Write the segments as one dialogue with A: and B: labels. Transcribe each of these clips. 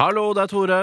A: Hallo, det er Tore.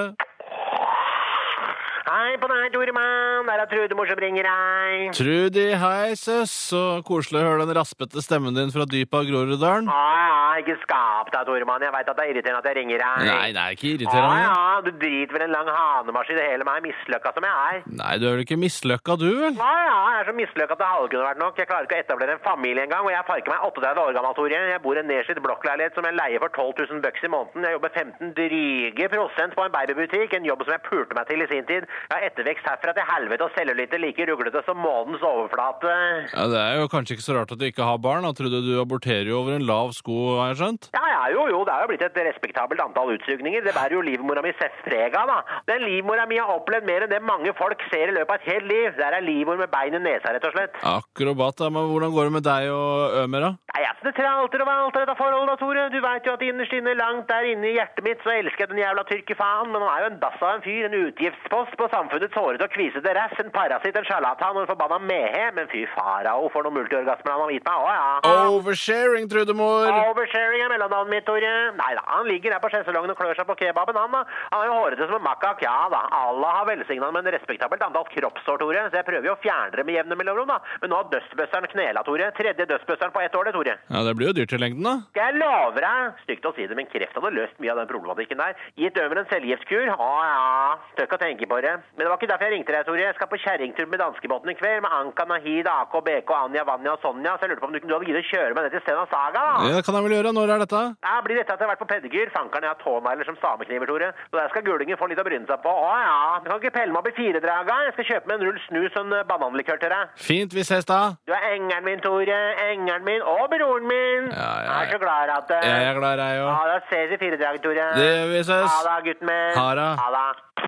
B: Hei på deg, Toremann. Der er Trudemor som ringer deg.
A: Trudy, hei, søs. Så koselig å høre den raspete stemmen din fra dypet av Groruddalen.
B: Ja, ja, ikke skap deg, Toremann. Jeg veit at det er irriterende at jeg ringer deg.
A: Nei, det er ikke
B: Ja,
A: irriterende.
B: ja, du driter vel en lang hanemaskin i hele meg, misløkka som jeg er.
A: Nei, du er vel ikke misløkka, du, vel?
B: Ja, ja, jeg er så misløkka at det halve kunne vært nok. Jeg klarer ikke å etablere en familie engang, og jeg farker meg 38 år gammel, Tore. Jeg bor i en nedslitt blokkleilighet som jeg leier for 12 000 bucks i måneden. Jeg jobber 15 dryge prosent på en babybutikk, en jobb som jeg pulte meg til i sin tid. Jeg har ettervekst herfra til helvete og cellulitter like ruglete som månens overflate.
A: Ja, Det er jo kanskje ikke så rart at du ikke har barn. da. Trudy, du aborterer jo over en lav sko, har jeg skjønt.
B: Ja, ja, jo, jo, det er jo blitt et respektabelt antall utsugninger. Det bærer jo livmora mi sett preg av, da. Den livmora mi har opplevd mer enn det mange folk ser i løpet av et helt liv. Der er livmor med bein i nesa, rett og slett.
A: Akrobat, da. Men hvordan går det med deg og Ømer, da?
B: Nei, altså, det tralter og valter dette forholdet, da, Tore. Du veit jo at innerst inne, langt der inne i hjertet mitt, så elsker jeg den jævla tyrkefaen. Men han er jo en dass av en fyr, en utgiftspost på samfunnets hårete og kvisete rass, en parasitt, en sjarlatan og en forbanna mehe. Men fy farao, for noen multiorgasmer han har gitt meg. Å ja.
A: Oversharing, Trudemor!
B: Oversharing er mellomnavnet mitt, Tore. Nei da, han ligger der på sjeselongen og klør seg på kebaben, han da. Han er jo hårete som en makak, ja da. Allah har velsigna han med en respektabelt antall kroppshår, Tore, så jeg prøver jo å fjerne det med jevne mellomrom, da. Men nå har dustbusteren knela, Tore. Tredje dustbusteren på ett år, det, Tore.
A: Ja, Det blir jo dyrt i lengden, da.
B: Jeg lover deg. Stygt å si det, men kreft hadde løst mye av den problematikken der. Gitt Ømer en cellegiftkur? Å ja, tør ikke å tenke på det. Men det var ikke derfor jeg ringte deg, Tore. Jeg skal på kjerringtur med danskebåten i kveld med Anka, Nahid, AK, BK, Anja, Vanja og Sonja, så jeg lurte på om du, du hadde giddet å kjøre meg ned til Stena Saga? da?
A: Ja, Det kan jeg vel gjøre. Når er dette?
B: Ja, blir dette at jeg har vært på pedikyr? Fankeren jeg har tånegler som samekniver, Tore. Så der skal gulingen få litt å bryne seg på. Å ja, du kan ikke pelle meg opp i firedraga. Jeg skal kjøpe meg en rull snus og en eh, bananlikør til deg.
A: Fint, vi ses da.
B: Du er engelen min, Tore. Engelen min. Og broren min.
A: Ja, ja,
B: Jeg er så glad at eh,
A: Jeg er glad i deg
B: Ja,
A: òg.
B: da ses vi i fire dager, Tore.
A: Det vi ses.
B: Ha det, gutten min.
A: Ha det.
B: Ha det.